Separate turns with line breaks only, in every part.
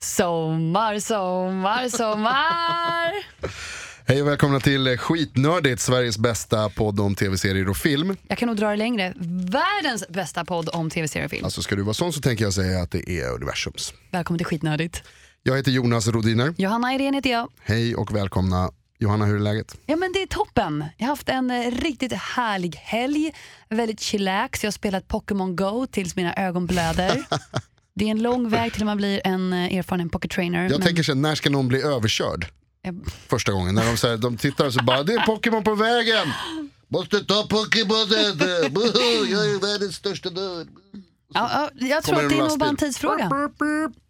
Sommar, sommar, sommar!
Hej och välkomna till eh, Skitnördigt, Sveriges bästa podd om tv-serier och film.
Jag kan nog dra det längre. Världens bästa podd om tv-serier och film.
Alltså ska du vara sån så tänker jag säga att det är universums.
Välkommen till Skitnödigt.
Jag heter Jonas Rodiner.
Johanna Irene heter jag.
Hej och välkomna. Johanna, hur är läget?
Ja men det är toppen. Jag har haft en eh, riktigt härlig helg. Väldigt chillax. Jag har spelat Pokémon Go tills mina ögon blöder. Det är en lång väg till man blir en eh, erfaren pocket trainer.
Jag tänker så här, när ska någon bli överkörd?
Jag-
Första gången, när de, så här, de tittar och så bara, det är Pokémon på vägen! Måste ta Pokémonen! Buhu, Jag är världens största nörd!
ja, ja, jag tror
Kommer
att det
en
är nog bara en
lastbil.
tidsfråga.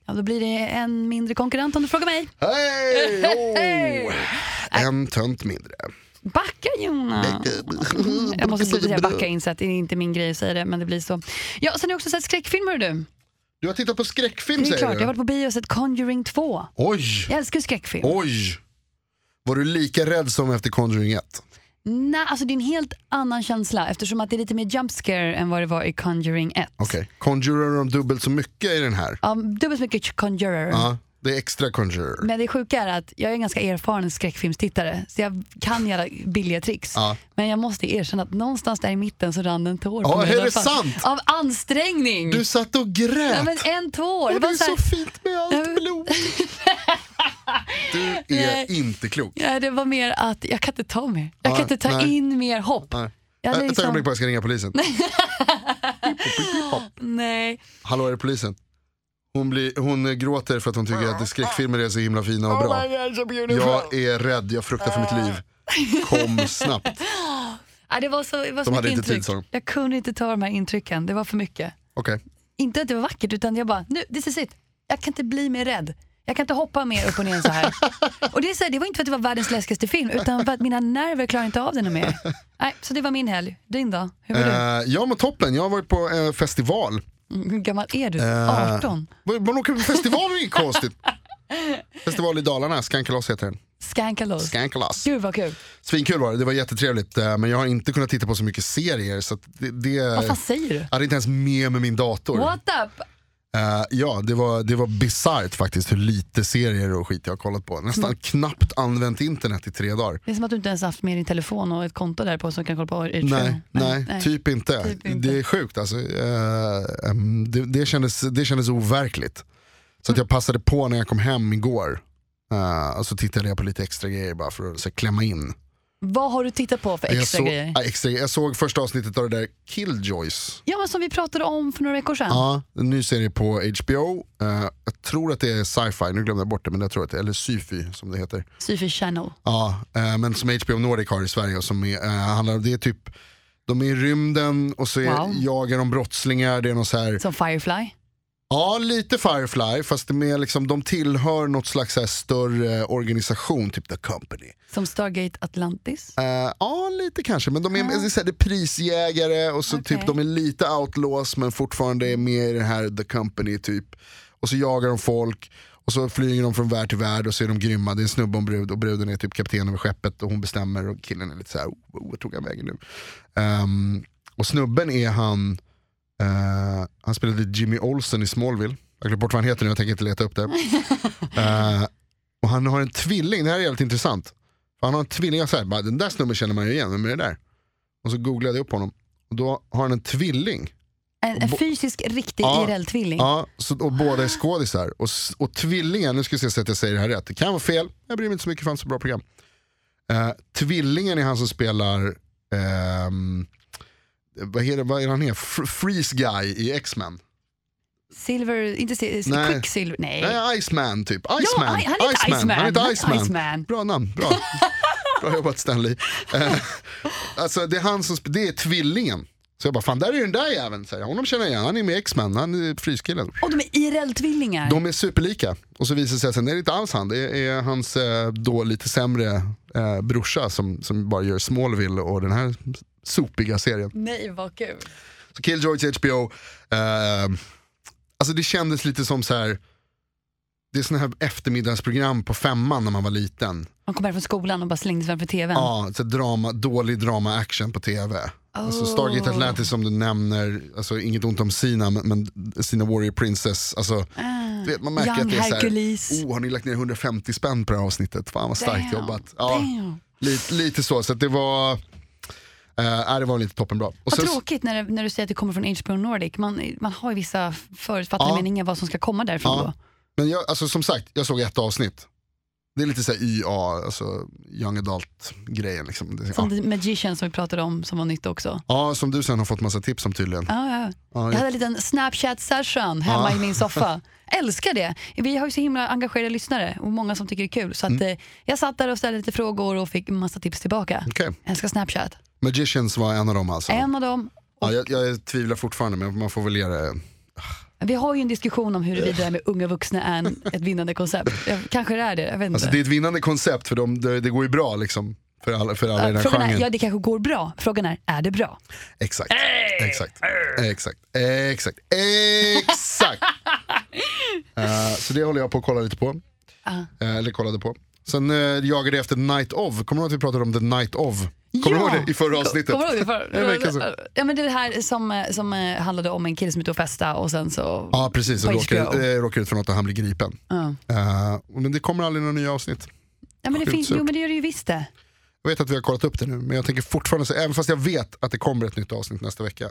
Ja, då blir det en mindre konkurrent om du frågar mig.
Hej! Oh. En tönt mindre.
Backa Jonas!
Mm,
Jag måste sluta säga backa in så att det är inte min grej att säga det, men det blir så. Ja, sen har jag också sett skräckfilmer du.
Du har tittat på skräckfilm
Det är klart,
säger
jag har varit
du?
på bio och sett Conjuring 2.
Oj!
Jag älskar ju skräckfilm.
Oj! Var du lika rädd som efter Conjuring 1?
Nej, alltså det är en helt annan känsla eftersom att det är lite mer jump scare än vad det var i Conjuring 1.
Okej. Conjurar de dubbelt så mycket i den här?
Ja, dubbelt så mycket Conjurer.
Ja, det är extra Conjurer.
Men det sjuka är att jag är en ganska erfaren skräckfilmstittare så jag kan göra billiga tricks.
Ja.
Men jag måste erkänna att någonstans där i mitten så rann en tår. på
Ja,
mig i
är
alla
det
fall.
sant?
Av ansträngning!
Du satt och grät!
Ja, men en tår!
och det
var
är
så här-
så fint med allt blod. Du
Nej.
är inte klok.
Nej, det var mer att jag kan inte ta mer. Jag kan
Nej,
inte ta
nej.
in mer hopp.
Nej.
Jag hade
Äh, Ett
liksom-
ögonblick bara, jag ska ringa polisen.
Nej.
Hallå, är det polisen? Hon, blir, hon gråter för att hon tycker att skräckfilmer är så himla fina och bra. Jag är rädd, jag fruktar för mitt liv. Kom snabbt.
Ja, det var så, det var så
De
mycket
hade inte tid,
intryck.
sa de.
jag kunde inte ta de här intrycken, det var för mycket.
Okej.
Inte att det var vackert, utan jag bara, nu, this is it. Jag kan inte bli mer rädd. Jag kan inte hoppa mer upp och ner än så här. och det, är så här, det var inte för att det var världens läskigaste film, utan för att mina nerver klarar inte av den mer. Nej, så det var min helg. Din då? Hur var du?
Eh, jag mår toppen, jag har varit på eh, festival.
Mm, Hur gammal är du?
Eh,
18?
Var- Man åker på festival är ju konstigt. Festival i Dalarna, Skankalas heter den.
Skankalos?
Skankalas.
Gud vad kul.
Svinkul var det, det var jättetrevligt. eh, Men jag har inte kunnat titta på så mycket serier så att det, det
Vad fan säger du?
jag hade inte ens med mig min dator.
What up?
Eh, ja, det var, det var bisarrt faktiskt hur lite serier och skit jag har kollat på. Nästan
Mm.
knappt använt internet i tre dagar.
Det är som att du inte ens haft med din telefon och ett konto där på som kan kolla på
Nej,
utfyllning.
nej, Typ, inte.
Typ inte.
Det är sjukt alltså. Eh, em, det, det, kändes, det kändes overkligt. Så att jag passade på när jag kom hem igår. eh, och så tittade jag på lite extra grejer bara för att så, här, klämma in.
Vad har du tittat på för
jag,
extra
såg,
grejer?
ja, extra, grejer. jag såg första avsnittet av det där Killjoys.
Ja, men som vi pratade om för några veckor sedan.
Ja, en ny serie på HBO. Eh, jag tror att det är sci-fi, nu glömde jag bort det, men jag tror att det, eller syfy som det heter.
Syfy Channel.
Ja, eh, men som HBO Nordic har i Sverige. Och som är, eh, handlar, det är typ, de är i rymden och så är,
Wow.
jagar de brottslingar. Det är någon så här,
Som Firefly.
ja lite Firefly fast med liksom, de tillhör något slags så här större organisation, typ The Company.
Som Stargate Atlantis.
Eh, ja lite kanske, men de är, det är, så här, det är prisjägare och så
Okej.
typ de är lite outlaws men fortfarande är med i det här The Company typ. Och så jagar de folk och så flyger de från värld till värld och så är de grymma. Det är en snubbe och en brud och bruden är typ kapten över skeppet och hon bestämmer och killen är lite så här, oh, oh, vart tog han vägen nu? Ehm, och snubben är han, eh, han spelade Jimmy Olsen i Smallville. Jag glömde bort vad han heter nu, jag tänker inte leta upp det. Eh, och han har en tvilling, det här är jävligt intressant. För han har en tvilling, jag säger bara den där snubben känner man ju igen, vem är det där? Och så googlade jag upp honom. Och då har han en tvilling.
En, en fysisk, riktig
Ja.
IRL-tvilling.
Ja, så, och båda är skådisar. Och, s- och tvillingen, nu ska vi se så att jag säger det här rätt. Det kan vara fel, jag bryr mig inte så mycket för han har så bra program. Eh, tvillingen är han som spelar, ehm, vad, är det, vad är han är? Fr- Freeze guy i X-Men.
Silver, inte si-
Nej.
Quicksilver. Nej.
Nej, Iceman typ. Iceman.
Eh. Ja, han heter Iceman.
Han
Han
heter
heter
Iceman.
Iceman.
Bra namn, bra. bra jobbat Stanley. Eh, alltså, det, är han som, sp- det är tvillingen Så jag bara, fan där är ju den där jäveln. Så här, honom känner jag igen, han är med i X-Men, han är fryskillen.
Och de är IRL-tvillingar.
De är superlika. Och så visar det sig sen, det är inte alls han. Det är hans eh, då lite sämre eh, brorsa som, som bara gör Smallville och den här sopiga serien.
Nej, vad kul.
Så Killjoy till HBO. Eh, alltså det kändes lite som så här. Det är såna här eftermiddagsprogram på femman när man var liten.
Man kom här från skolan och bara slängdes framför tvn.
Ja, så drama, dålig drama action på tv. Alltså
Oh.
Stargate Atlantis som du nämner, alltså inget ont om Sina, men, men Sina Warrior Princess. Alltså, du vet, man märker
Ah. Young
att det är
Hercules.
såhär, oh har ni lagt ner 150 spänn på det här avsnittet? Fan vad
Damn.
starkt jobbat. Ja,
Damn.
lite, lite så, så att det var, eh, nej, det var lite toppenbra. Och
Vad
sen-
tråkigt när, det- när du säger att det kommer från HBO Nordic. Man, man har ju vissa förutfattade
Ja.
meningar vad som ska komma därifrån då.
Ja. Men jag, alltså, som sagt, jag såg ett avsnitt. Det är lite såhär YA, alltså young adult-grejen. Liksom. Det-
Som
ja.
The Magician som vi pratade om som var nytt också.
ja, som du sen har fått massa tips om tydligen.
Ja, ja.
Ja,
Jag hade en liten Snapchat-session hemma i min soffa. Älskar det. Vi har ju så himla engagerade lyssnare och många som tycker det är kul. Så att,
Mm.
eh, jag satt där och ställde lite frågor och fick massa tips tillbaka.
Okej.
Älskar Snapchat.
Magicians var en av dem alltså.
En av dem.
Ja, jag, jag tvivlar fortfarande men man får väl ge det.
Vi har ju en diskussion om huruvida det här med unga vuxna är en- ett vinnande koncept. Jag- Kanske det är det, jag vet inte.
Alltså, det är ett vinnande koncept för dem, det, det går ju bra liksom. För alla, för alla i den här
Frågan är,
genren.
ja det kanske går bra. Frågan är, är det bra?
Exakt. Exakt. Exakt. Exakt. Exakt. Eh, så det håller jag på att kolla lite på.
Ah.
Eh, eller kollade på. Sen eh, jagade jag efter Night of. Kommer du ihåg att vi pratade om The Night of? Kommer
Ja!
du ihåg det i förra avsnittet?
Kommer du ihåg det?
En vecka sedan.
För, ja, men det är det här som, eh, som eh, handlade om en kille som är ute och festa och sen så...
Ja precis, och
På
råkar,
HBO.
eh, råkar ut för något och han blir gripen.
Ja.
Eh, men det kommer aldrig några nya avsnitt.
ja men det
sjukt
finns,
surt.
jo men det gör det ju visst det.
Jag vet att vi har kollat upp det nu, men jag tänker fortfarande, säga- även fast jag vet att det kommer ett nytt avsnitt nästa vecka,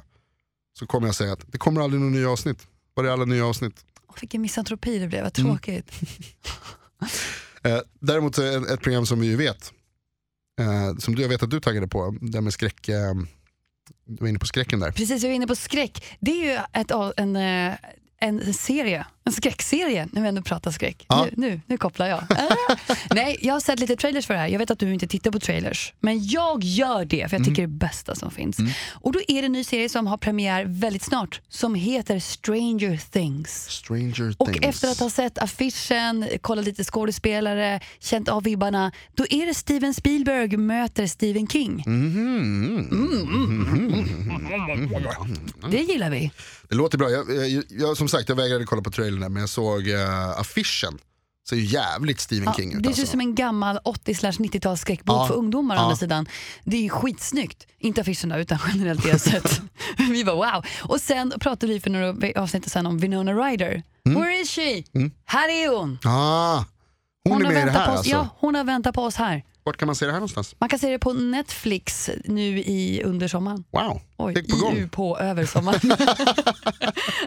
så kommer jag säga att det kommer aldrig några nya avsnitt. Var är alla nya avsnitt?
Åh, vilken misantropi det blev, vad
Mm.
tråkigt.
Eh, däremot eh, ett, ett program som vi ju vet, eh, som du, jag vet att du taggade på, det här med skräck, eh, du var inne på skräcken där.
Precis, jag är inne på skräck. Det är ju ett, av- en, eh, en serie, en skräckserie, när vi ändå pratar skräck.
Ja.
Nu, nu, nu kopplar jag. Ah. Nej, jag har sett lite trailers för det här. Jag vet att du inte tittar på trailers, men jag gör det för jag
Mm.
tycker det är det bästa som finns. Och då är det en ny serie som har premiär väldigt snart som heter Stranger Things.
Stranger
Och
Things.
efter att ha sett affischen, kollat lite skådespelare, känt av vibbarna, då är det Steven Spielberg möter Stephen King.
Mm. Mhm. Mm-hmm.
Det gillar vi.
Det låter bra, jag, jag, jag, som sagt jag vägrade kolla på trailern där, men jag såg eh, affischen. Ser ju jävligt Stephen
Ja,
King ut
det ser
alltså.
ut som en gammal 80-90-tals skräckbok
Ja.
för ungdomar å
Ja.
andra sidan. Det är ju skitsnyggt. Inte affischerna utan generellt det jag sett. vi bara wow. Och sen pratade vi för några avsnitt sen om Winona Ryder.
Mm.
Where is she? Här är hon.
Ah, hon, är
har
med i det
väntat
här
på oss.
alltså.
Ja, hon har väntat på oss här.
Vart kan man se det här någonstans?
Man kan se det på Netflix nu i under sommaren.
Wow,
Oj,
Tänk på gång.
IU på över sommaren.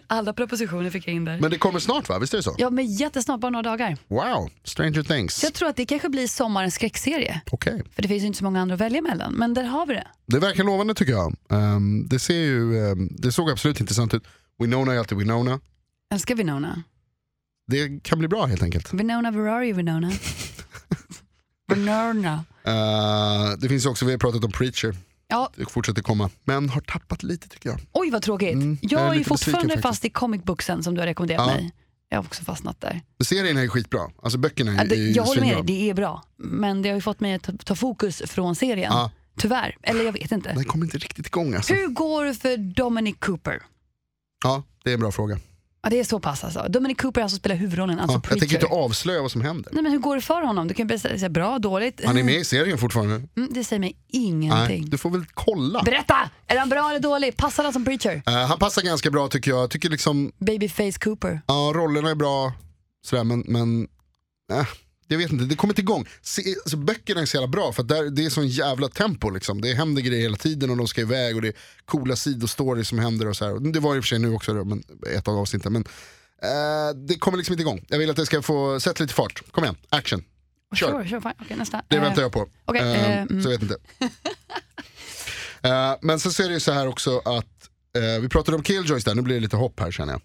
Alla propositioner fick jag in där.
Men det kommer snart va, visst är det så?
Ja, men jättesnabbt, bara några dagar.
Wow, Stranger Things.
Så jag tror att det kanske blir sommarens skräckserie.
Okej,
För det finns ju inte så många andra att välja mellan. Men där har vi det.
det verkar lovande tycker jag. Ehm, det, ser ju, ehm, det såg absolut intressant ut. Winona är alltid Winona.
Älskar Winona.
Det kan bli bra helt enkelt.
Winona, where are you Winona? Winona.
Eh, det finns ju också, vi har pratat om Preacher,
Ja,
det fortsätter komma. Men har tappat lite tycker jag.
oj vad tråkigt.
Mm, jag är
jag är,
lite besviken
fortfarande
faktiskt.
fast i comic booksen som du har rekommenderat
Ja.
mig. Jag har också fastnat där.
Serien är ju skitbra, alltså böckerna är,
Ja,
är
det,
ju
jag håller med dig,
svinbra.
det är bra. Men det har ju fått mig att ta, ta fokus från serien.
Ja.
Tyvärr, eller jag vet inte.
Den kommer inte riktigt igång alltså.
Hur går det för Dominic Cooper?
Ja, det är en bra fråga.
Ja, det är så pass alltså. Dominic Cooper är han som spelar huvudrollen, alltså
Ja, jag tänker
Preacher.
inte avslöja vad som händer.
Nej, men hur går det för honom? Du kan ju säga bra, dåligt.
Han är med i serien fortfarande.
Mm, det säger mig
Nej,
ingenting.
du får väl kolla.
Berätta! Är han bra eller dålig? Passar han som Preacher?
Eh, han passar ganska bra tycker jag. Jag tycker liksom,
Babyface Cooper.
ja rollerna är bra, sådär, men, men eh, jag vet inte, det kommer inte igång. Se, alltså, böckerna är så jävla bra för att där, det är sån jävla tempo liksom. Det händer grejer hela tiden och de ska iväg och det är coola sidostories som händer och så här. Det var i och för sig nu också då, men ett av avsnitten. Men eh, det kommer liksom inte igång. Jag vill att det ska få, sätt lite fart. Kom igen, action. Kör.
Sure, sure, fine. Okej, nästa.
Det
Eh,
väntar jag på.
okej,
Eh,
eh, mm.
Så jag vet inte. Eh, men sen så är det ju så här också att, eh, vi pratade om Killjoys där, nu blir det lite hopp här känner jag.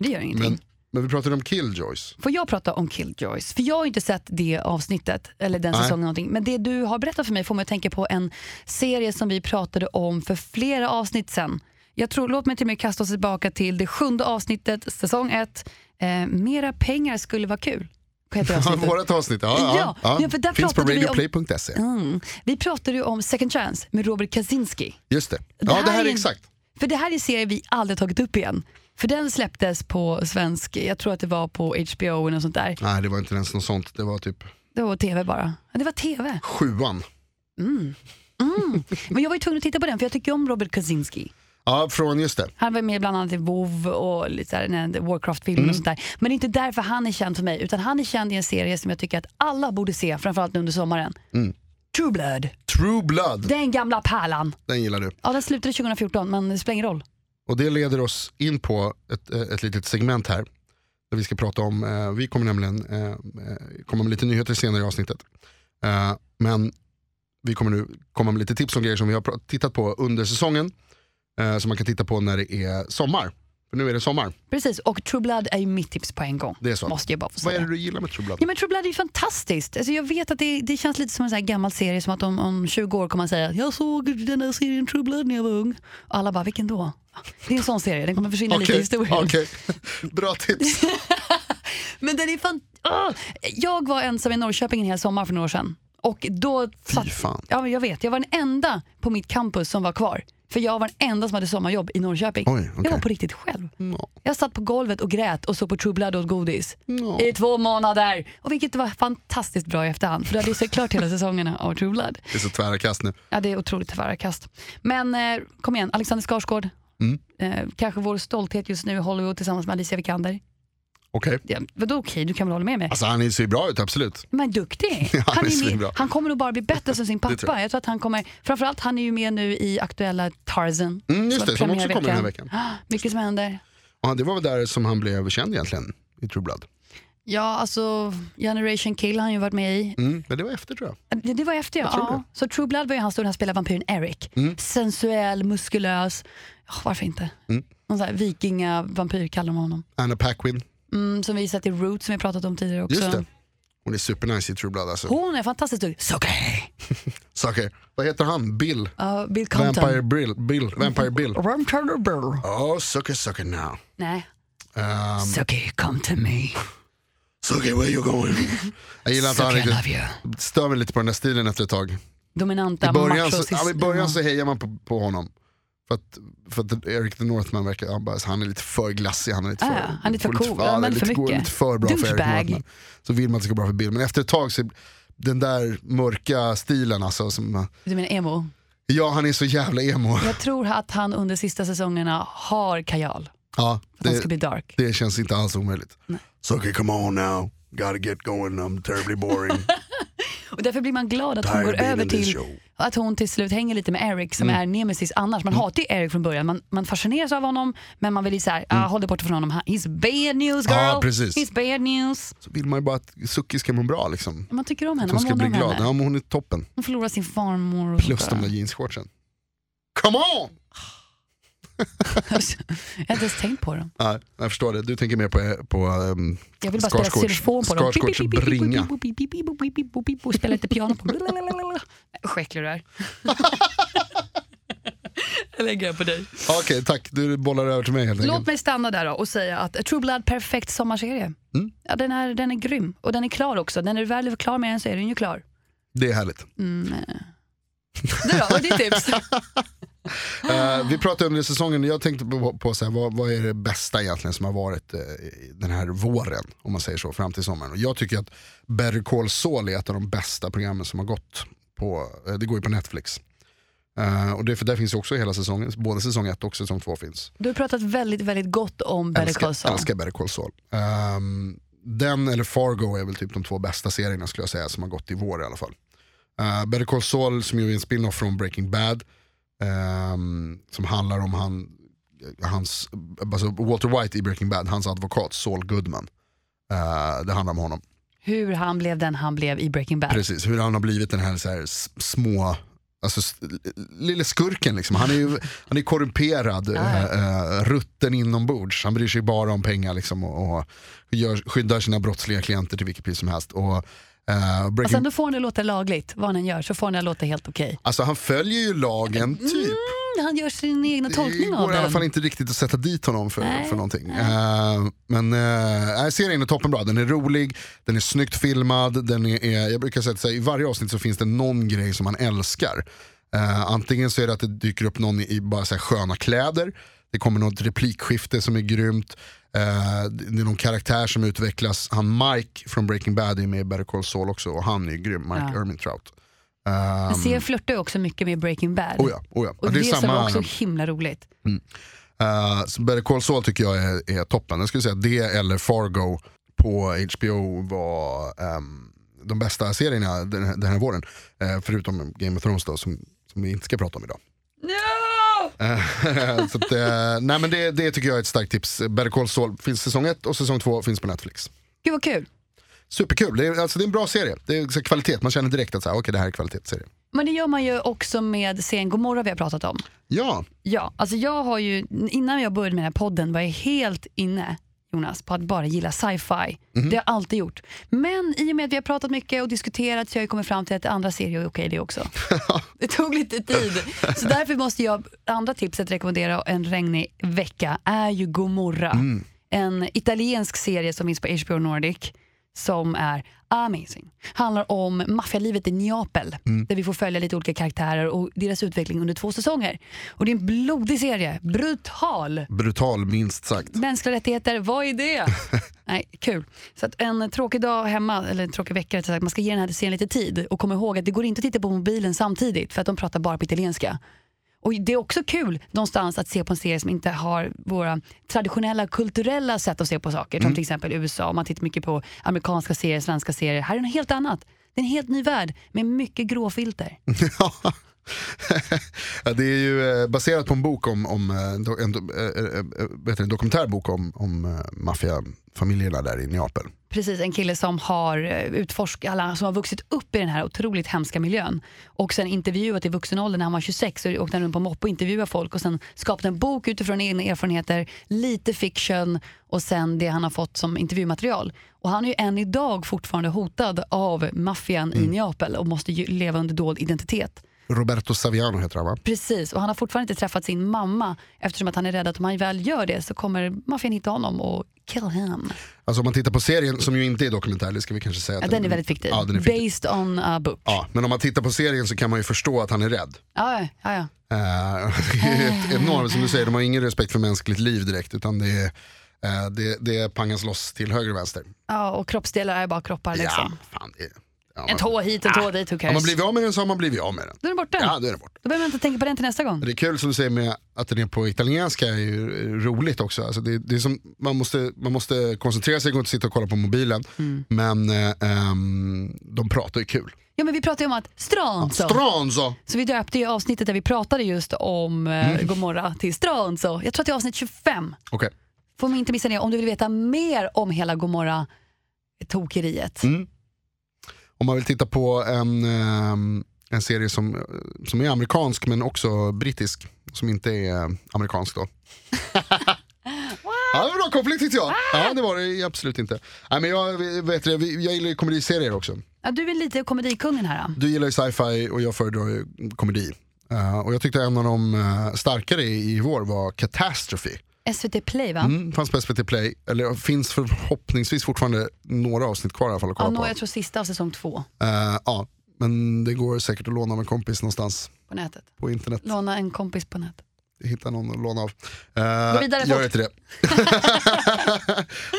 Det gör ingenting.
Men, men vi pratade om Killjoys.
Får jag prata om Killjoys? För jag har inte sett det avsnittet, eller den
Nej.
säsongen någonting. Men det du har berättat för mig får mig att tänka på en serie som vi pratade om för flera avsnitt sen. Jag tror, låt mig till och med kasta oss tillbaka till det sjunde avsnittet, säsong ett. Eh, mera pengar skulle vara kul. Heter
Ja,
avsnittet.
Vårat avsnitt, ja. ja,
Ja, ja, för där
Finns på
pratade vi om-
radioplay.se.
Mm. Vi pratade ju om Second Chance med Robert Kaczynski.
Just det. Ja, det här är
en-
exakt.
För det här är en serie vi aldrig tagit upp igen. För den släpptes på svensk, jag tror att det var på HBO eller något sånt där.
Nej, det var inte ens något sånt. Det var typ
Det var tv bara. Ja, det var tv.
sjuan.
Men jag var ju tvungen att titta på den för jag tycker ju om Robert Kaczynski.
Ja, från, just det.
Han var med bland annat i WoW och lite så här, den här Warcraft-filmen och
Mm.
sånt där. Men det är inte därför han är känd för mig, utan han är känd i en serie som jag tycker att alla borde se, framförallt nu under sommaren.
Mm.
True Blood,
True Blood,
den gamla pärlan.
den gillar du.
Ja, den slutade 2014, men det spelar ingen roll.
Och det leder oss in på ett, eh, ett litet segment här. Där vi ska prata om, eh, vi kommer nämligen eh, eh, komma med lite nyheter senare i avsnittet. Eh, men vi kommer nu komma med lite tips om grejer som vi har pra- tittat på under säsongen. Eh, som man kan titta på när det är sommar. För nu är det sommar.
Precis, och True Blood är ju mitt tips på en gång.
Det är så.
Måste jag bara få
Vad är
säga.
det du gillar med True Blood?
Ja, men True Blood är ju fantastiskt. Alltså, jag vet att det, det känns lite som en sån här gammal serie, som att om, om 20 år kommer man säga jag såg den här serien True Blood när jag var ung. Och alla bara, vilken då? Det är en sån serie, den kommer försvinna lite i
Okej,
historien.
okej. Bra tips.
Men den är fan... Ah! Jag var ensam i Norrköping en hel sommar för några år sedan. Och då satt...
fan.
Ja, men jag vet. Jag var den enda på mitt campus som var kvar. För jag var den enda som hade sommarjobb i Norrköping.
Oj, okej.
Jag var på riktigt själv.
Ja.
Jag satt på golvet och grät och såg på True Blood och åt godis. I två månader. Och vilket var fantastiskt bra i efterhand. För det hade ju sett klart hela säsongerna av True Blood.
Det är så tvära kast nu.
Ja, det är otroligt tvära kast. Men eh, kom igen, Alexander Skarsgård.
Mm.
Eh, kanske vår stolthet just nu i Hollywood tillsammans med Alicia Vikander.
Okej.
Ja, vadå okej, du kan väl hålla med mig?
Alltså han ser ju bra ut, absolut.
Men duktig!
han
Han,
är
är
svinbra.
med, han kommer nog bara bli bättre som sin
tror
pappa.
jag.
jag. tror att han kommer, framförallt han är ju med nu i aktuella Tarzan.
Mm, just
har
det, som också
premiär
kommer den här
veckan.
veckan.
Ah, Mycket som händer.
Och han- det var väl där som han blev känd egentligen, i True Blood.
Ja, alltså Generation Kill har han ju varit med i.
Mm, men det var efter tror jag.
Ja, Det var efter ja.
tror det. Mm.
ja. Så True Blood var ju han som spelade vampyren Eric. Sensuell, muskulös. Ja, varför inte?
Mm.
Någon sån här vikingavampyr kallar man honom.
Anna Paquin,
Mm, som vi sett i Roots som vi pratat om tidigare också.
just det. Hon är supernice i True Blood alltså.
Hon är fantastiskt duktig. Sucker!
Saker. Vad heter han? Bill?
Uh, Bill Compton.
Vampire Bill? Bill.
Mm.
Vampire Bill.
Rum Turner Bill.
Oh, sucker sucker now.
Nej,
Um,
Sucker come to me.
sucker where you going? jag gillar inte han
Sucker I love
riktigt.
you.
Stör mig lite på den där stilen efter ett tag.
dominanta
I början, så,
machos-
ja, I början så hejar man på, på honom. För att, för att Eric the Northman verkar, han, bara, han är lite för glassig, han är lite
Ah,
för,
ja, han är lite för cool,
ja,
han
det är
är
lite,
för
går
mycket.
lite för bra för Eric the
Douchebag.
Northman. Så vill man att det ska gå bra för Bill, men efter ett tag så den där mörka stilen alltså, som,
Du menar emo?
ja han är så jävla emo.
Jag tror att han under sista säsongerna har kajal.
Ja,
Att han ska bli
det,
dark.
det känns inte alls omöjligt. So okay, come on now, gotta get going, I'm terribly boring.
Och därför blir man glad att hon
Tired
går
of being
över
in this
till
show.
att hon till slut hänger lite med Eric
Mm.
som är nemesis annars. Man hatar ju Eric från början. Man, man fascineras av honom men man vill ju såhär, ah, håll dig borta från honom. Han- He's bad news girl.
Mm. Ja, precis.
He's bad news.
så vill man ju bara att Suki ska må bra liksom.
Man tycker om henne.
Hon
Man
ska bli
månar om
glad, ja,
henne.
men hon är toppen.
Hon förlorar sin farmor. Och
Plus
sånt
de där jeansshortsen. Come on!
Jag har inte ens tänkt på dem.
Nej, jag förstår det. Du tänker mer på, på ehm,
Jag vill bara spela
Skarsgårds-
xylofon på dem.
Skarsgårds bringa.
Och spela lite piano på dem. Usch, äcklig du är. Jag lägger det på dig.
Okej, tack. Du bollar över till mig helt
Låt
enkelt.
mig stanna där då och säga att True Blood, perfekt sommarserie.
Mm.
Ja, den, är, den är grym och den är klar också. Den är väl klar med den så är den ju klar.
Det är härligt.
Du då, vad är ditt tips?
Eh, vi pratade under säsongen, jag tänkte på, på så här, vad, vad är det bästa egentligen som har varit eh, i den här våren, om man säger så, fram till sommaren. Och jag tycker att Better Call Saul är ett av de bästa programmen som har gått. På, eh, det går ju på Netflix. Eh, och det, för där finns ju också hela säsongen, både säsong 1 och säsong 2 finns.
Du har pratat väldigt, väldigt gott om Better
älskar,
Call Saul.
älskar Better Call Saul. Ehm, den eller Fargo är väl typ de två bästa serierna skulle jag säga som har gått i vår i alla fall. Uh, Better Call Saul som ju är en spin-off från Breaking Bad. ehm, som handlar om han, eh, hans, alltså Walter White i Breaking Bad, hans advokat Saul Goodman. Eh, det handlar om honom.
Hur han blev den han blev i Breaking Bad.
Precis, hur han har blivit den här, så här s- små, alltså s- lille skurken liksom. Han är ju han är korrumperad, eh, eh, rutten inombords. Han bryr sig bara om pengar liksom och, och gör, skyddar sina brottsliga klienter till vilket pris som helst. Och, eh,
Och
Breaking,
sen då får han det låta lagligt, vad han än gör, så får han det låta helt okej.
alltså han följer ju lagen typ.
när Mm, han gör sin egna
Det
tolkning
går
av
i alla fall
den.
inte riktigt att sätta dit honom för,
Nej,
för någonting. Eh, men uh, serien är toppenbra, den är rolig, den är snyggt filmad, den är, är, jag brukar säga att så här, i varje avsnitt så finns det någon grej som man älskar. Eh, antingen så är det att det dyker upp någon i bara så här, sköna kläder, det kommer något replikskifte som är grymt, Eh, det är någon karaktär som utvecklas, han Mike från Breaking Bad är med i Better Call Saul också och han är ju grym, Mike
Ja.
Ermintrout. Uh,
Serien flörtar ju också mycket med Breaking Bad.
oh ja, oh ja.
Och
det är
som
samma-
var också himla roligt.
Uh, så Better Call Saul tycker jag är, är toppen. Jag skulle säga att det eller Fargo på HBO var ehm, de bästa serierna den här, den här våren. Eh, förutom Game of Thrones då, som, som vi inte ska prata om idag. Eh, så att, eh, nej men det, det tycker jag är ett starkt tips. Better Call Saul finns säsong 1 och säsong 2 finns på Netflix.
Gud vad kul.
Superkul, det är, alltså, det är en bra serie. Det är så här kvalitet, man känner direkt att så här, okej, det här är kvalitetsserie.
Men det gör man ju också med serien Gomorra vi har pratat om.
Ja,
Ja, alltså jag har ju, innan jag började med den här podden var jag helt inne Jonas, på att bara gilla sci-fi. Det har jag alltid gjort. Men i och med att vi har pratat mycket och diskuterat så har jag ju kommit fram till att andra serier är okej det också. det tog lite tid. Så därför måste jag, andra tipset rekommendera en regnig vecka är ju Gomorra. En italiensk serie som finns på HBO Nordic som är amazing. Handlar om maffialivet i Neapel där vi får följa lite olika karaktärer och deras utveckling under två säsonger. Och det är en blodig serie, brutal.
brutal minst sagt.
Mänskliga rättigheter, vad är det? Nej, kul. Så att en tråkig dag hemma, eller en tråkig vecka rättare sagt, man ska ge den här serien lite tid och komma ihåg att det går inte att titta på mobilen samtidigt för att de pratar bara på italienska. Och Det är också kul någonstans att se på en serie som inte har våra traditionella kulturella sätt att se på saker. Som till exempel USA, om man tittar mycket på amerikanska serier, svenska serier. Här är det något helt annat. Det är en helt ny värld med mycket gråfilter.
Ja, det är ju eh, baserat på en bok om, om eh, en, do- en, do- eh, eh, vet du, en dokumentär bok om, om eh, maffiafamiljerna där i Neapel.
Precis, en kille som har eh, utforskat, alla som har vuxit upp i den här otroligt hemska miljön och sen intervjuat i vuxen ålder när han var 26 och åkte han runt på mopp och intervjuade folk och sen skapat en bok utifrån egna erfarenheter, lite fiction och sen det han har fått som intervjumaterial. Och han är ju än idag fortfarande hotad av maffian
Mm.
i Neapel och måste ju leva under dold identitet.
Roberto Saviano heter han va?
Precis, och han har fortfarande inte träffat sin mamma eftersom att han är rädd att om han väl gör det så kommer maffian hitta honom och kill him.
Alltså om man tittar på serien, som ju inte är dokumentär, det ska vi kanske säga.
Ja,
att
den är väldigt fiktiv.
Mm. Ja, den är fiktiv.
Based on a book.
Ja, men om man tittar på serien så kan man ju förstå att han är rädd.
Ja, ja, ja, ja.
Eh, det är
Ah.
ett enormt, som du säger, de har ingen respekt för mänskligt liv direkt utan det är eh, det, det pangas loss till höger och vänster.
ja och kroppsdelar är bara kroppar
Ja,
liksom.
fan, det är, ja,
En
man-
tå hit, en tå dit, who
Har man
cares?
blivit av med den så har man blivit av med den.
Då är den borta.
Ja, då är den borta.
Då behöver man inte tänka på den till nästa gång.
Men Det är kul som du säger med att den är på italienska är ju roligt också. Alltså det, det är som, man, måste, man måste koncentrera sig, går inte att sitta och kolla på mobilen. Men eh, ehm, de pratar ju kul.
Ja, men vi pratade ju om att Stranzo.
Stranzo!
så vi döpte ju avsnittet där vi pratade just om eh,
Mm.
Gomorra till Stranzo. Jag tror att det är avsnitt 25.
Okej,
Får man inte missa det om du vill veta mer om hela Gomorra tokeriet.
Mm. om man vill titta på en, ehm, en serie som, eh, som är amerikansk men också brittisk. Som inte är eh, amerikansk då. Ja, det var bra konflikt tyckte jag. Ja, det var det absolut inte. Nej, men jag, vet det, jag gillar ju komediserier också.
Ja, du är lite komedikungen här. Då.
Du gillar ju sci-fi och jag föredrar ju komedi. Eh, och jag tyckte en av de eh, starkare i, i vår var Catastrophe.
SVT Play va?
Mm, fanns på SVT Play, eller finns förhoppningsvis fortfarande några avsnitt kvar i alla fall att
Ja,
kolla
nå,
på.
jag tror sista av säsong två
Eh, ja, men det går säkert att låna av en kompis någonstans
på nätet.
på internet.
Låna en kompis på nätet.
Hitta någon att låna av.
Gå
Uh,
vidare
gör
fort.
inte det.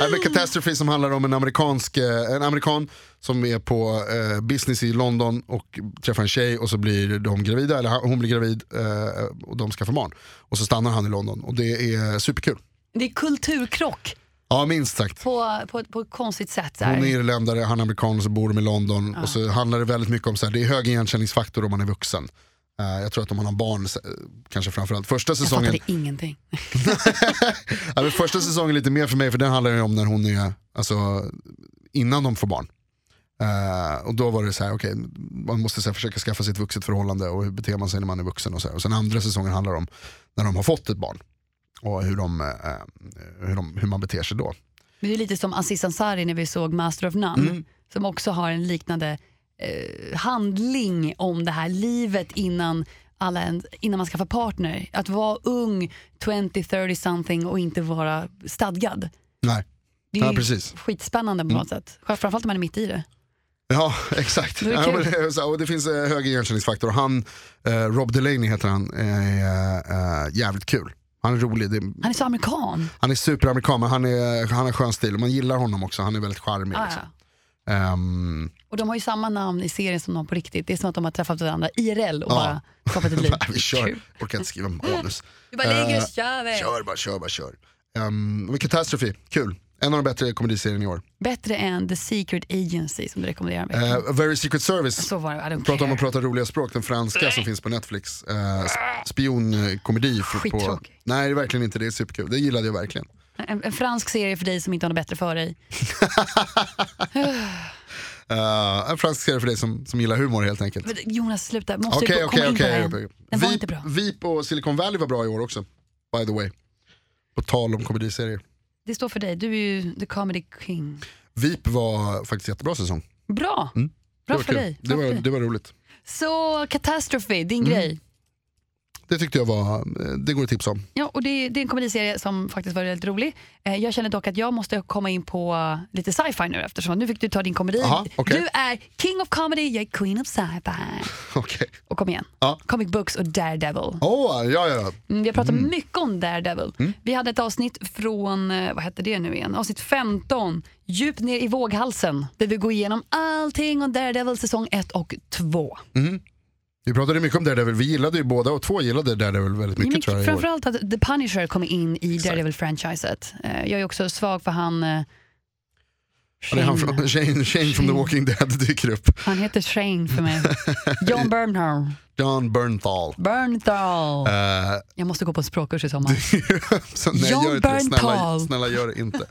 Nej, men Catastrophe som handlar om en, amerikansk, eh, en amerikan som är på eh, business i London och träffar en tjej och så blir de gravida, eller han- hon blir gravid eh, och de ska få barn. Och så stannar han i London och det är superkul.
Det är kulturkrock
Ja minst sagt.
på, på, på ett konstigt sätt. Så här.
Hon är irländare, han är amerikan och så bor de i London. Och så handlar det väldigt mycket om så här, det är hög igenkänningsfaktor om man är vuxen. Eh, jag tror att om man har barn, eh, kanske framförallt första
jag
säsongen.
fattade ingenting.
Ja, men första säsongen lite mer för mig, för den handlar ju om när hon är, alltså innan de får barn. Eh, och då var det så här, okej, man måste så här, försöka skaffa sig ett vuxet förhållande och hur beter man sig när man är vuxen och så här. Och sen andra säsongen handlar om när de har fått ett barn. Och hur, de, eh, hur, de, hur man beter sig då.
Men det är lite som Aziz Ansari när vi såg Master of None
Mm.
som också har en liknande eh, handling om det här livet innan alla ens, innan man skaffar partner. Att vara ung, 20, 30 something och inte vara stadgad.
Nej.
Det
Ja,
ju
precis. Mm.
skitspännande på något sätt. Framförallt om man är mitt i det.
Ja, exakt.
Det är
ja,
kul.
men, det är så här, och det finns eh, hög igenkänningsfaktor. Och Han, eh, Rob Delaney heter han, är eh, jävligt kul. Han är rolig, det,
Han är så amerikan.
han är superamerikan men han, är, han har skön stil och man gillar honom också, han är väldigt charmig.
Ah,
liksom.
ja.
Ehm,
Och de har ju samma namn i serien som de på riktigt. Det är som att de har träffat varandra IRL och
Ja.
bara skapat ett liv.
vi kör,
Kul.
orkar inte skriva manus.
Du bara ligger
Eh,
och kör. vi.
Kör bara, kör bara, kör. Um, men Catastrophe, kul. En av de bättre komediserierna i år.
Bättre än The Secret Agency som du rekommenderar mig.
Eh, A Very Secret Service,
så var det, I don't
prata om
care.
att prata roliga språk, den franska som finns på Netflix. Eh, sp- spionkomedi. för- På,
Skittråkig.
nej, det är verkligen inte, det är superkul. Det gillade jag verkligen.
En, en fransk serie för dig som inte har något bättre för dig.
Eh, en fransk serie för dig som, som gillar humor helt enkelt.
Men Jonas sluta, måste
Okej,
du komma
okej,
in på
okej.
den? Den var inte bra.
Vip och Silicon Valley var bra i år också, by the way. På tal om komediserier.
Det står för dig, du är ju the comedy king.
Vip var faktiskt jättebra säsong. Det
Bra!
Mm.
Bra
var
för
kul.
dig.
Det
Bra för
var, Mm.
dig.
det var roligt.
Så Catastrophe, din grej.
Det tyckte jag var, eh, det går att tipsa om.
Ja, och det, det är en komediserie som faktiskt var väldigt rolig. Eh, jag känner dock att jag måste komma in på eh, lite sci-fi nu eftersom nu fick du ta din komedi.
Aha, okej.
Du är king of comedy, jag är queen of sci-fi.
Okej.
Och kom igen,
Ja.
comic books och Daredevil.
Åh, ja, ja, ja.
Mm, vi har pratat mycket om Daredevil.
Mm.
Vi hade ett avsnitt från, eh, vad hette det nu igen, avsnitt 15, djupt ner i våghalsen, där vi går igenom allting om Daredevil säsong 1 och 2.
Vi pratade mycket om Daredevil, vi gillade ju båda och två gillade Daredevil väldigt mycket tror jag i år.
Framförallt att The Punisher kom in i Daredevil-franchiset. Eh, Jag är också svag för han... eh,
Ja, Det är han
Shane.
från, Shane, Shane från The Walking Dead dyker upp.
Han heter Shane för mig. John Bernthal.
John Bernthal.
Bernthal.
Eh,
Jag måste gå på en språkkurs i sommar.
så, nej,
John
gör inte det. Snälla,
Bernthal.
snälla gör det inte.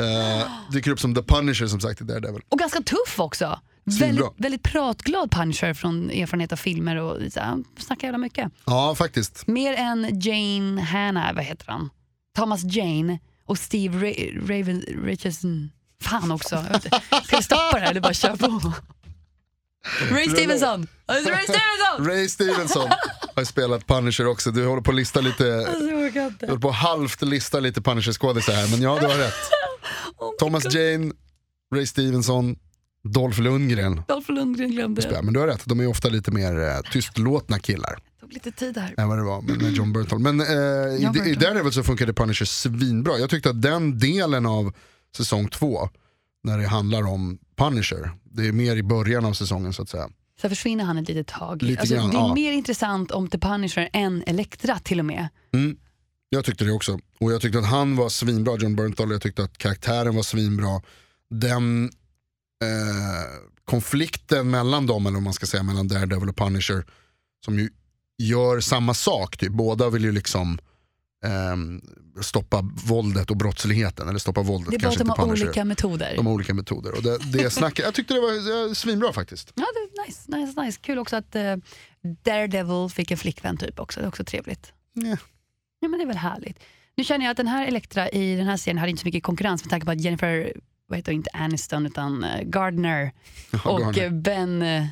Eh, dyker upp som The Punisher som sagt i Daredevil.
Och ganska tuff också.
Svinbra.
Väldigt, väldigt pratglad Punisher från erfarenhet av filmer och så, här, han snackar jävla mycket.
Ja, faktiskt.
Mer än Jane Hanna, vad heter han? Thomas Jane och Steve Ra- Raven Richardson. Fan också. Jag vet inte. Ska vi stoppa det här eller bara köra på? Ray Stevenson! Ray Stevenson!
Ray Stevenson har ju spelat Punisher också. Du håller på att lista lite,
Alltså,
du
jag orkar inte.
håller på att halvt lista lite Punisher-skådisar här, men ja, du har rätt.
Oh my
Thomas
God.
Jane, Ray Stevenson, Dolph Lundgren.
Dolph Lundgren glömde jag.
Ja, men du har rätt, de är ofta lite mer eh, tystlåtna killar
Det tog lite tid här.
än vad det var med, med John Bernthal. Men eh, i,
Bernthal.
i Daredevil så funkade Punisher svinbra. Jag tyckte att den delen av säsong två, när det handlar om Punisher, det är mer i början av säsongen så att säga.
Sen försvinner han ett litet tag.
Lite
alltså,
grann,
det är
ja.
mer intressant om The Punisher än Elektra till och med.
Jag tyckte det också. Och jag tyckte att han var svinbra, John Bernthal. Jag tyckte att karaktären var svinbra. Den eh, konflikten mellan dem, eller vad man ska säga, mellan Daredevil och Punisher, som ju gör samma sak. Typ. Båda vill ju liksom ehm, stoppa våldet och brottsligheten. Eller stoppa våldet,
Det är bara att
kanske
de
inte
har
Punisher.
olika metoder.
De har olika metoder. Och det, det snacket, jag tyckte det var eh, svinbra faktiskt.
Ja, det är nice, nice, nice. Kul också att eh, Daredevil fick en flickvän typ också. Det är också trevligt.
Yeah.
Ja, men det är väl härligt. Nu känner jag att den här Elektra i den här serien hade inte så mycket konkurrens med tanke på att Jennifer, vad heter hon, inte Aniston utan eh, Gardner och eh, Ben eh,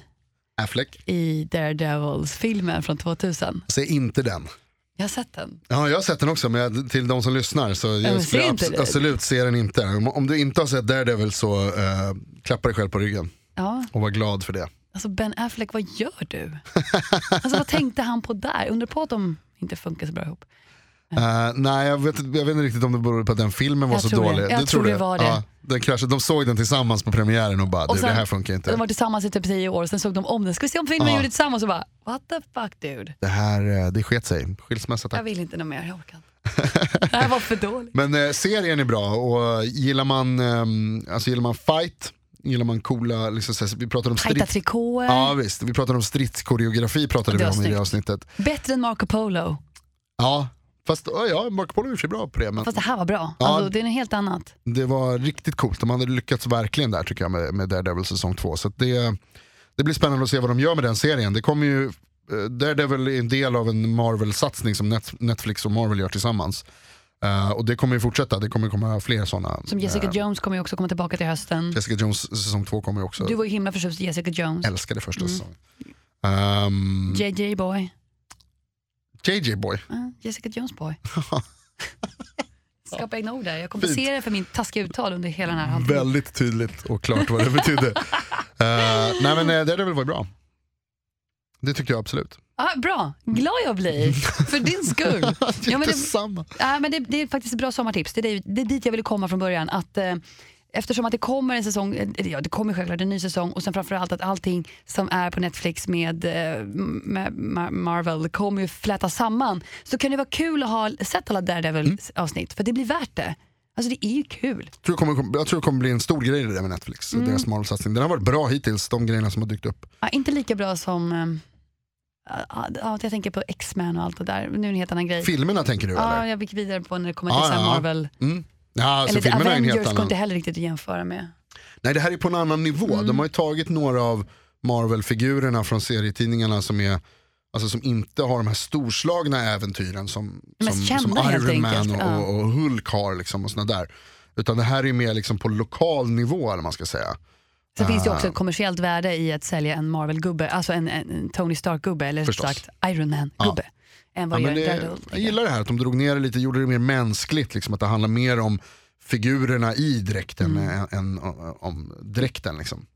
Affleck,
i Daredevils-filmen från 2000.
säg inte den.
Jag har sett den.
Ja, jag har sett den också, men jag, till de som lyssnar så
men
jag skulle
se inte
abs-
det.
absolut se den inte. Om, om du inte har sett Daredevil så eh, klappa dig själv på ryggen
Ja,
och var glad för det.
alltså Ben Affleck, vad gör du? Alltså vad tänkte han på där? Undrar på att de inte funkar så bra ihop.
Eh, nej, jag vet, jag vet inte riktigt om det beror på att den filmen var
Jag
så
tror det.
dålig.
Jag tror det var det.
Ja, den kraschade, de såg den tillsammans på premiären och bara,
Och
du, det
sen-
här funkar inte.
De var tillsammans i typ 10 år och sen såg de om den. Ska vi se om filmen
Ja.
gjorde tillsammans och bara what the fuck dude.
Det här, eh, det sket sig. Skilsmässa
Jag
tack.
vill inte något mer, jag orkar inte. Det här var för dåligt.
Men eh, serien är bra och gillar man, ehm, alltså gillar man fight, gillar man coola, liksom, så här, vi pratade om
Tajta
strids...
trikåer,
Ja visst, vi pratade om stridskoreografi pratade
Det
vi
var
om i det
snyggt.
avsnittet.
bättre än Marco Polo.
Ja, fast ja, ja, Marco Polo är i och för sig bra på det. Men
Fast det här var bra.
Ja.
Alltså, det är något helt annat.
det var riktigt coolt. De hade lyckats verkligen där tycker jag med, med Daredevil säsong 2. Så att det, det blir spännande att se vad de gör med den serien. Det kommer ju, eh, Daredevil är en del av en Marvel-satsning som Net, Netflix och Marvel gör tillsammans. Eh, och det kommer ju fortsätta, det kommer komma fler sådana.
Som Jessica
Eh,
Jones kommer ju också komma tillbaka till hösten.
Jessica Jones säsong 2 kommer ju också.
Mm. Du var ju himla förtjust i Jessica Jones.
Älskade första säsongen. Ehm,
JJ boy.
JJ boy.
Ja, Jessica Jones boy. Skapa egna ord där. Jag kompenserar för min taskiga uttal under hela den här halvtimmen.
Väldigt tydligt och klart vad det betydde. Eh, nej men eh, det hade väl varit bra. Det tyckte jag absolut.
Ah, bra, glad jag blir för din skull. ja, men det,
Detsamma.
ja, men det, det är faktiskt ett bra sommartips. Det är, det är dit jag ville komma från början. Att, eh, eftersom att det kommer en säsong, eh, ja, det kommer självklart en ny säsong och sen framförallt att allting som är på Netflix med, eh, med Ma- Marvel kommer ju fläta samman. Så kan det vara kul att ha sett alla
Mm.
Daredevil-avsnitt för det blir värt det. Alltså det är ju kul.
Jag, tror det kommer, jag tror det kommer bli en stor grej det där med Netflix.
Mm.
Deras Marvel-satsning. Den har varit bra hittills, de grejerna som har dykt upp.
Ja, inte lika bra som, eh, ja, ja, jag tänker på X-Men och allt det där. Nu är det en helt annan grej.
Filmerna tänker du
Eh, Ja,
eller?
jag gick vidare på när det kommer
Ja,
till så här
ja, ja.
Marvel.
Mm. Ja, alltså
Eller
filmerna är en
Avengers
helt
går
annan.
inte heller riktigt att jämföra med.
Nej det här är på en annan nivå.
Mm.
De har ju tagit några av Marvel-figurerna från serietidningarna som är Alltså som inte har de här storslagna äventyren som,
De mest
som,
kända
som
helt
Iron Man
enkelt,
och,
ja.
och, och Hulk har. Liksom och såna där. Utan det här är mer liksom på lokal nivå eller vad man ska säga.
Sen finns det
Ah.
ju också ett kommersiellt värde i att sälja en Marvel-gubbe, alltså en, en en Tony Stark-gubbe eller
Förstås. Ah.
sagt Iron Man-gubbe. Än vad
Ja, men
gör en
det,
Daredevil.
jag gillar det här att de drog ner det lite, gjorde det mer mänskligt, liksom, att det handlar mer om figurerna i dräkten
Mm.
än, än om- om dräkten. Liksom.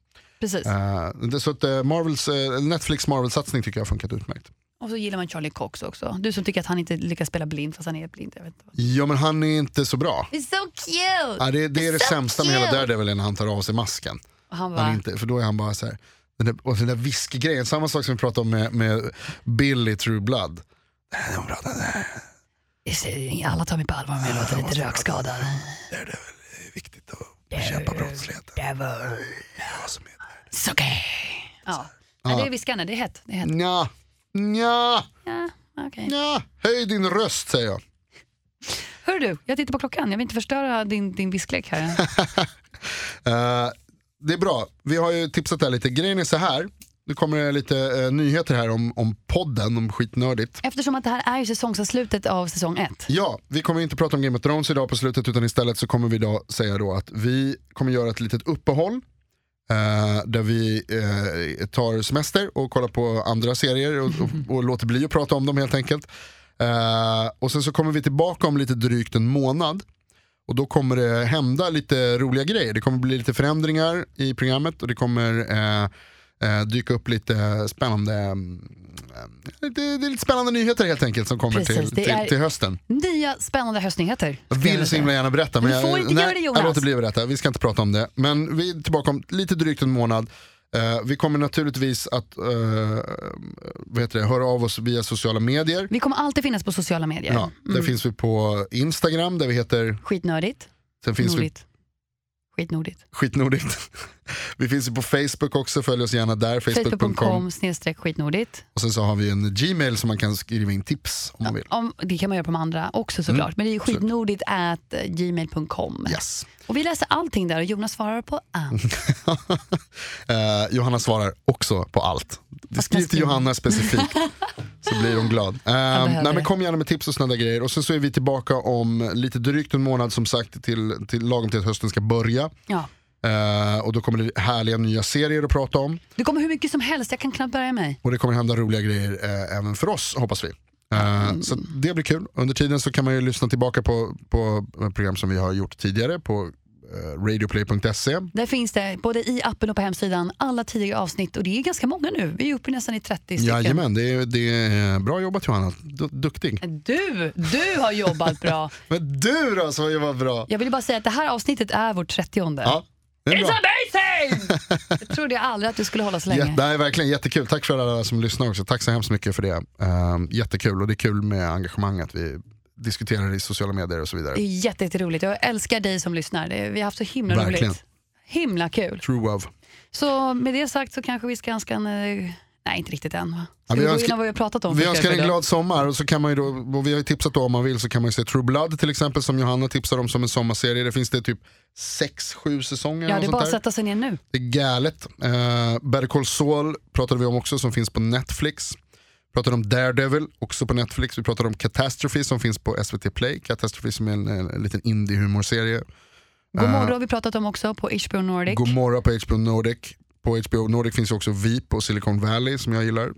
Precis.
Eh, det, så att eh, Marvels, eh, Netflix Marvel-satsning tycker jag har funkat utmärkt.
Och så gillar man Charlie Cox också. Du som tycker att han inte lyckas spela blind fast han är blind. Jag vet inte. vad.
Ja men han är inte så bra.
It's so cute!
Ja, det, det är det
So
sämsta med hela
cute!
Daredevil när han tar av sig masken.
Och han
Han är
var
inte, för då är han bara så här, den där, och den där viskgrejen, samma sak som vi pratade om med, med Bill i True Blood.
alla tar mig på allvar men jag låter lite rökskadad.
Det är viktigt att bekämpa brottsligheten.
Devil.
Vad som är-
It's okay. Ja. Ja. det är viskande, det är hett. Det är hett.
Nja, nja,
Ja, okej.
nja, höj din röst säger jag.
Hör du, jag tittar på klockan. Jag vill inte förstöra din, din visklek här.
Eh, det är bra, vi har ju tipsat här lite. Grejen är så här, nu kommer det lite eh, nyheter här om, om podden, om skitnördigt.
Eftersom att det här är ju säsongsavslutet av säsong ett.
Ja, vi kommer inte prata om Game of Thrones idag på slutet utan istället så kommer vi idag säga då att vi kommer göra ett litet uppehåll eh, där vi eh, tar semester och kollar på andra serier och, och, och låter bli att prata om dem helt enkelt. Eh, och sen så kommer vi tillbaka om lite drygt en månad och då kommer det hända lite roliga grejer. Det kommer bli lite förändringar i programmet och det kommer eh, eh, dyka upp lite spännande mm, eh, det, det är lite spännande nyheter helt enkelt som kommer
Precis,
till,
det
till,
är-
till hösten.
Nya spännande höstnyheter.
Jag
skulle
vill
vilja
så
säga.
himla gärna berätta.
Men du får
jag,
inte
nej,
göra det, Jonas.
Jag låter bli att berätta, vi ska inte prata om det. Men vi är tillbaka om lite drygt en månad. Eh, vi kommer naturligtvis att eh, vad heter det, höra av oss via sociala medier.
Vi kommer alltid finnas på sociala medier. Mm.
Ja, där finns vi på Instagram, där vi heter,
Skitnördigt,
sen finns vi
nordigt. Skitnordigt.
skitnordigt. vi finns ju på Facebook också, följ oss gärna där, facebook.com.
Facebook.com snedstreck skitnordigt.
Och sen så har vi en Gmail som man kan skriva in tips om man vill.
Om, det kan man göra på de andra
Mm.
också såklart. Men det är ju skitnordigt at eh, gmail.com.
Yes.
Och vi läser allting där och Jonas svarar på allt.
Eh, Johanna svarar också på allt. Det skriv till
skriver-
Johanna specifikt så blir hon glad. Eh,
behöver
nej,
det.
men kom gärna med tips och såna där grejer. Och sen så är vi tillbaka om lite drygt en månad som sagt till, till lagom till att hösten ska börja.
Ja.
Eh, och då kommer det härliga nya serier att prata om.
Det kommer hur mycket som helst, jag kan knappt börja mig.
Och det kommer hända roliga grejer eh, även för oss hoppas vi. Eh,
Mm.
Så det blir kul. Under tiden så kan man ju lyssna tillbaka på, på program som vi har gjort tidigare på eh, radioplay.se.
Där finns det både i appen och på hemsidan alla tidigare avsnitt och det är ganska många nu. Vi är uppe nästan i 30 stycken.
Jajamän, det är, det är bra jobbat Johanna. Du, duktig.
Du, du har jobbat bra.
Men du då som har jobbat bra.
Jag vill bara säga att det här avsnittet är vårt 30
Ja, det är
It's
bra.
amazing! jag trodde jag aldrig att du skulle hålla så länge.
Jätte, nej, verkligen jättekul. Tack för alla som lyssnar också. Tack så hemskt mycket för det. Ehm, jättekul och det är kul med engagemanget. Vi diskuterar det i sociala medier och så vidare.
Det är jätte- jätteroligt. Jag älskar dig som lyssnar. Det- Vi har haft så himla
Verkligen.
roligt. Himla kul.
True love.
Så med det sagt så kanske vi ska önska en... eh, Nej, inte riktigt än. va? Ska
Ja,
vi
vi
gå
önskar-
igenom vad vi har pratat om?
Vi
först,
önskar en
eller?
glad sommar och så kan man ju då, och vi har ju tipsat då om man vill så kan man ju se True Blood till exempel som Johanna tipsar om som en sommarserie. Det finns det typ 6-7 säsonger.
Ja,
och
det är
sånt
bara att
där.
sätta sig ner nu.
Det är galet. Uh, Better Call Saul pratade vi om också som finns på Netflix. Vi pratade om Daredevil, också på Netflix. Vi pratade om Catastrophe som finns på SVT Play. Catastrophe som är en, en liten indie-humorserie.
God morgon har vi pratat om också på HBO Nordic.
Gomorra på HBO Nordic. På HBO Nordic finns ju också VIP och Silicon Valley som jag gillar.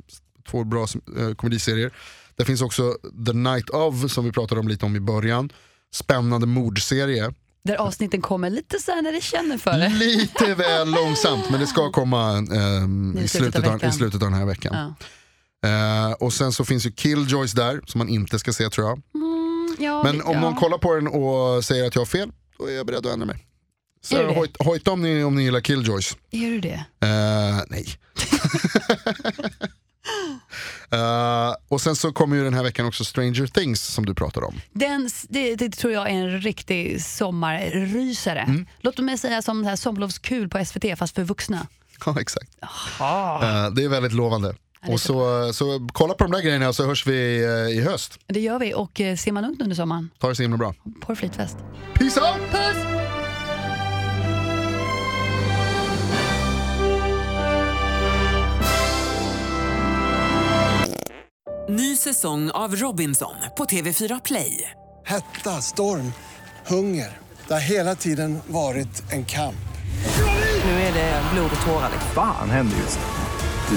Två bra eh, komediserier. Det finns också The Night of som vi pratade om lite om i början. Spännande mordserie.
Där avsnitten kommer lite så här när det känner för det.
Lite väl långsamt men det ska komma ehm,
I
i,
slutet
slutet
av
av, i
veckan.
slutet av den här veckan.
Ja.
Eh, och sen så finns ju Killjoys där som man inte ska se tror jag.
Mm, Ja,
Men
det-
om
ja.
någon kollar på den och säger att jag har fel, då är jag beredd att ändra mig. Så
Är du det?
hojt, hojta om ni, om ni gillar Killjoys.
Är du det?
Eh, nej. Eh, och sen så kommer ju den här veckan också Stranger Things som du pratade om.
Den, s- det, det tror jag är en riktig sommarrysare. Låt mig säga som det här sommarlovskul på SVT fast för vuxna.
Ja, exakt. Eh, det är väldigt lovande. och så, så kolla på de där grejerna så hörs vi eh, i höst.
Det gör vi och eh, ser man ungt under sommaren,
Ta det så himla bra.
porr flytväst.
Peace out!
Ny säsong av Robinson på TV4 Play.
Hetta, storm, hunger. Det har hela tiden varit en kamp.
Nu är det blod och tårar. liksom.
Fan händer just det.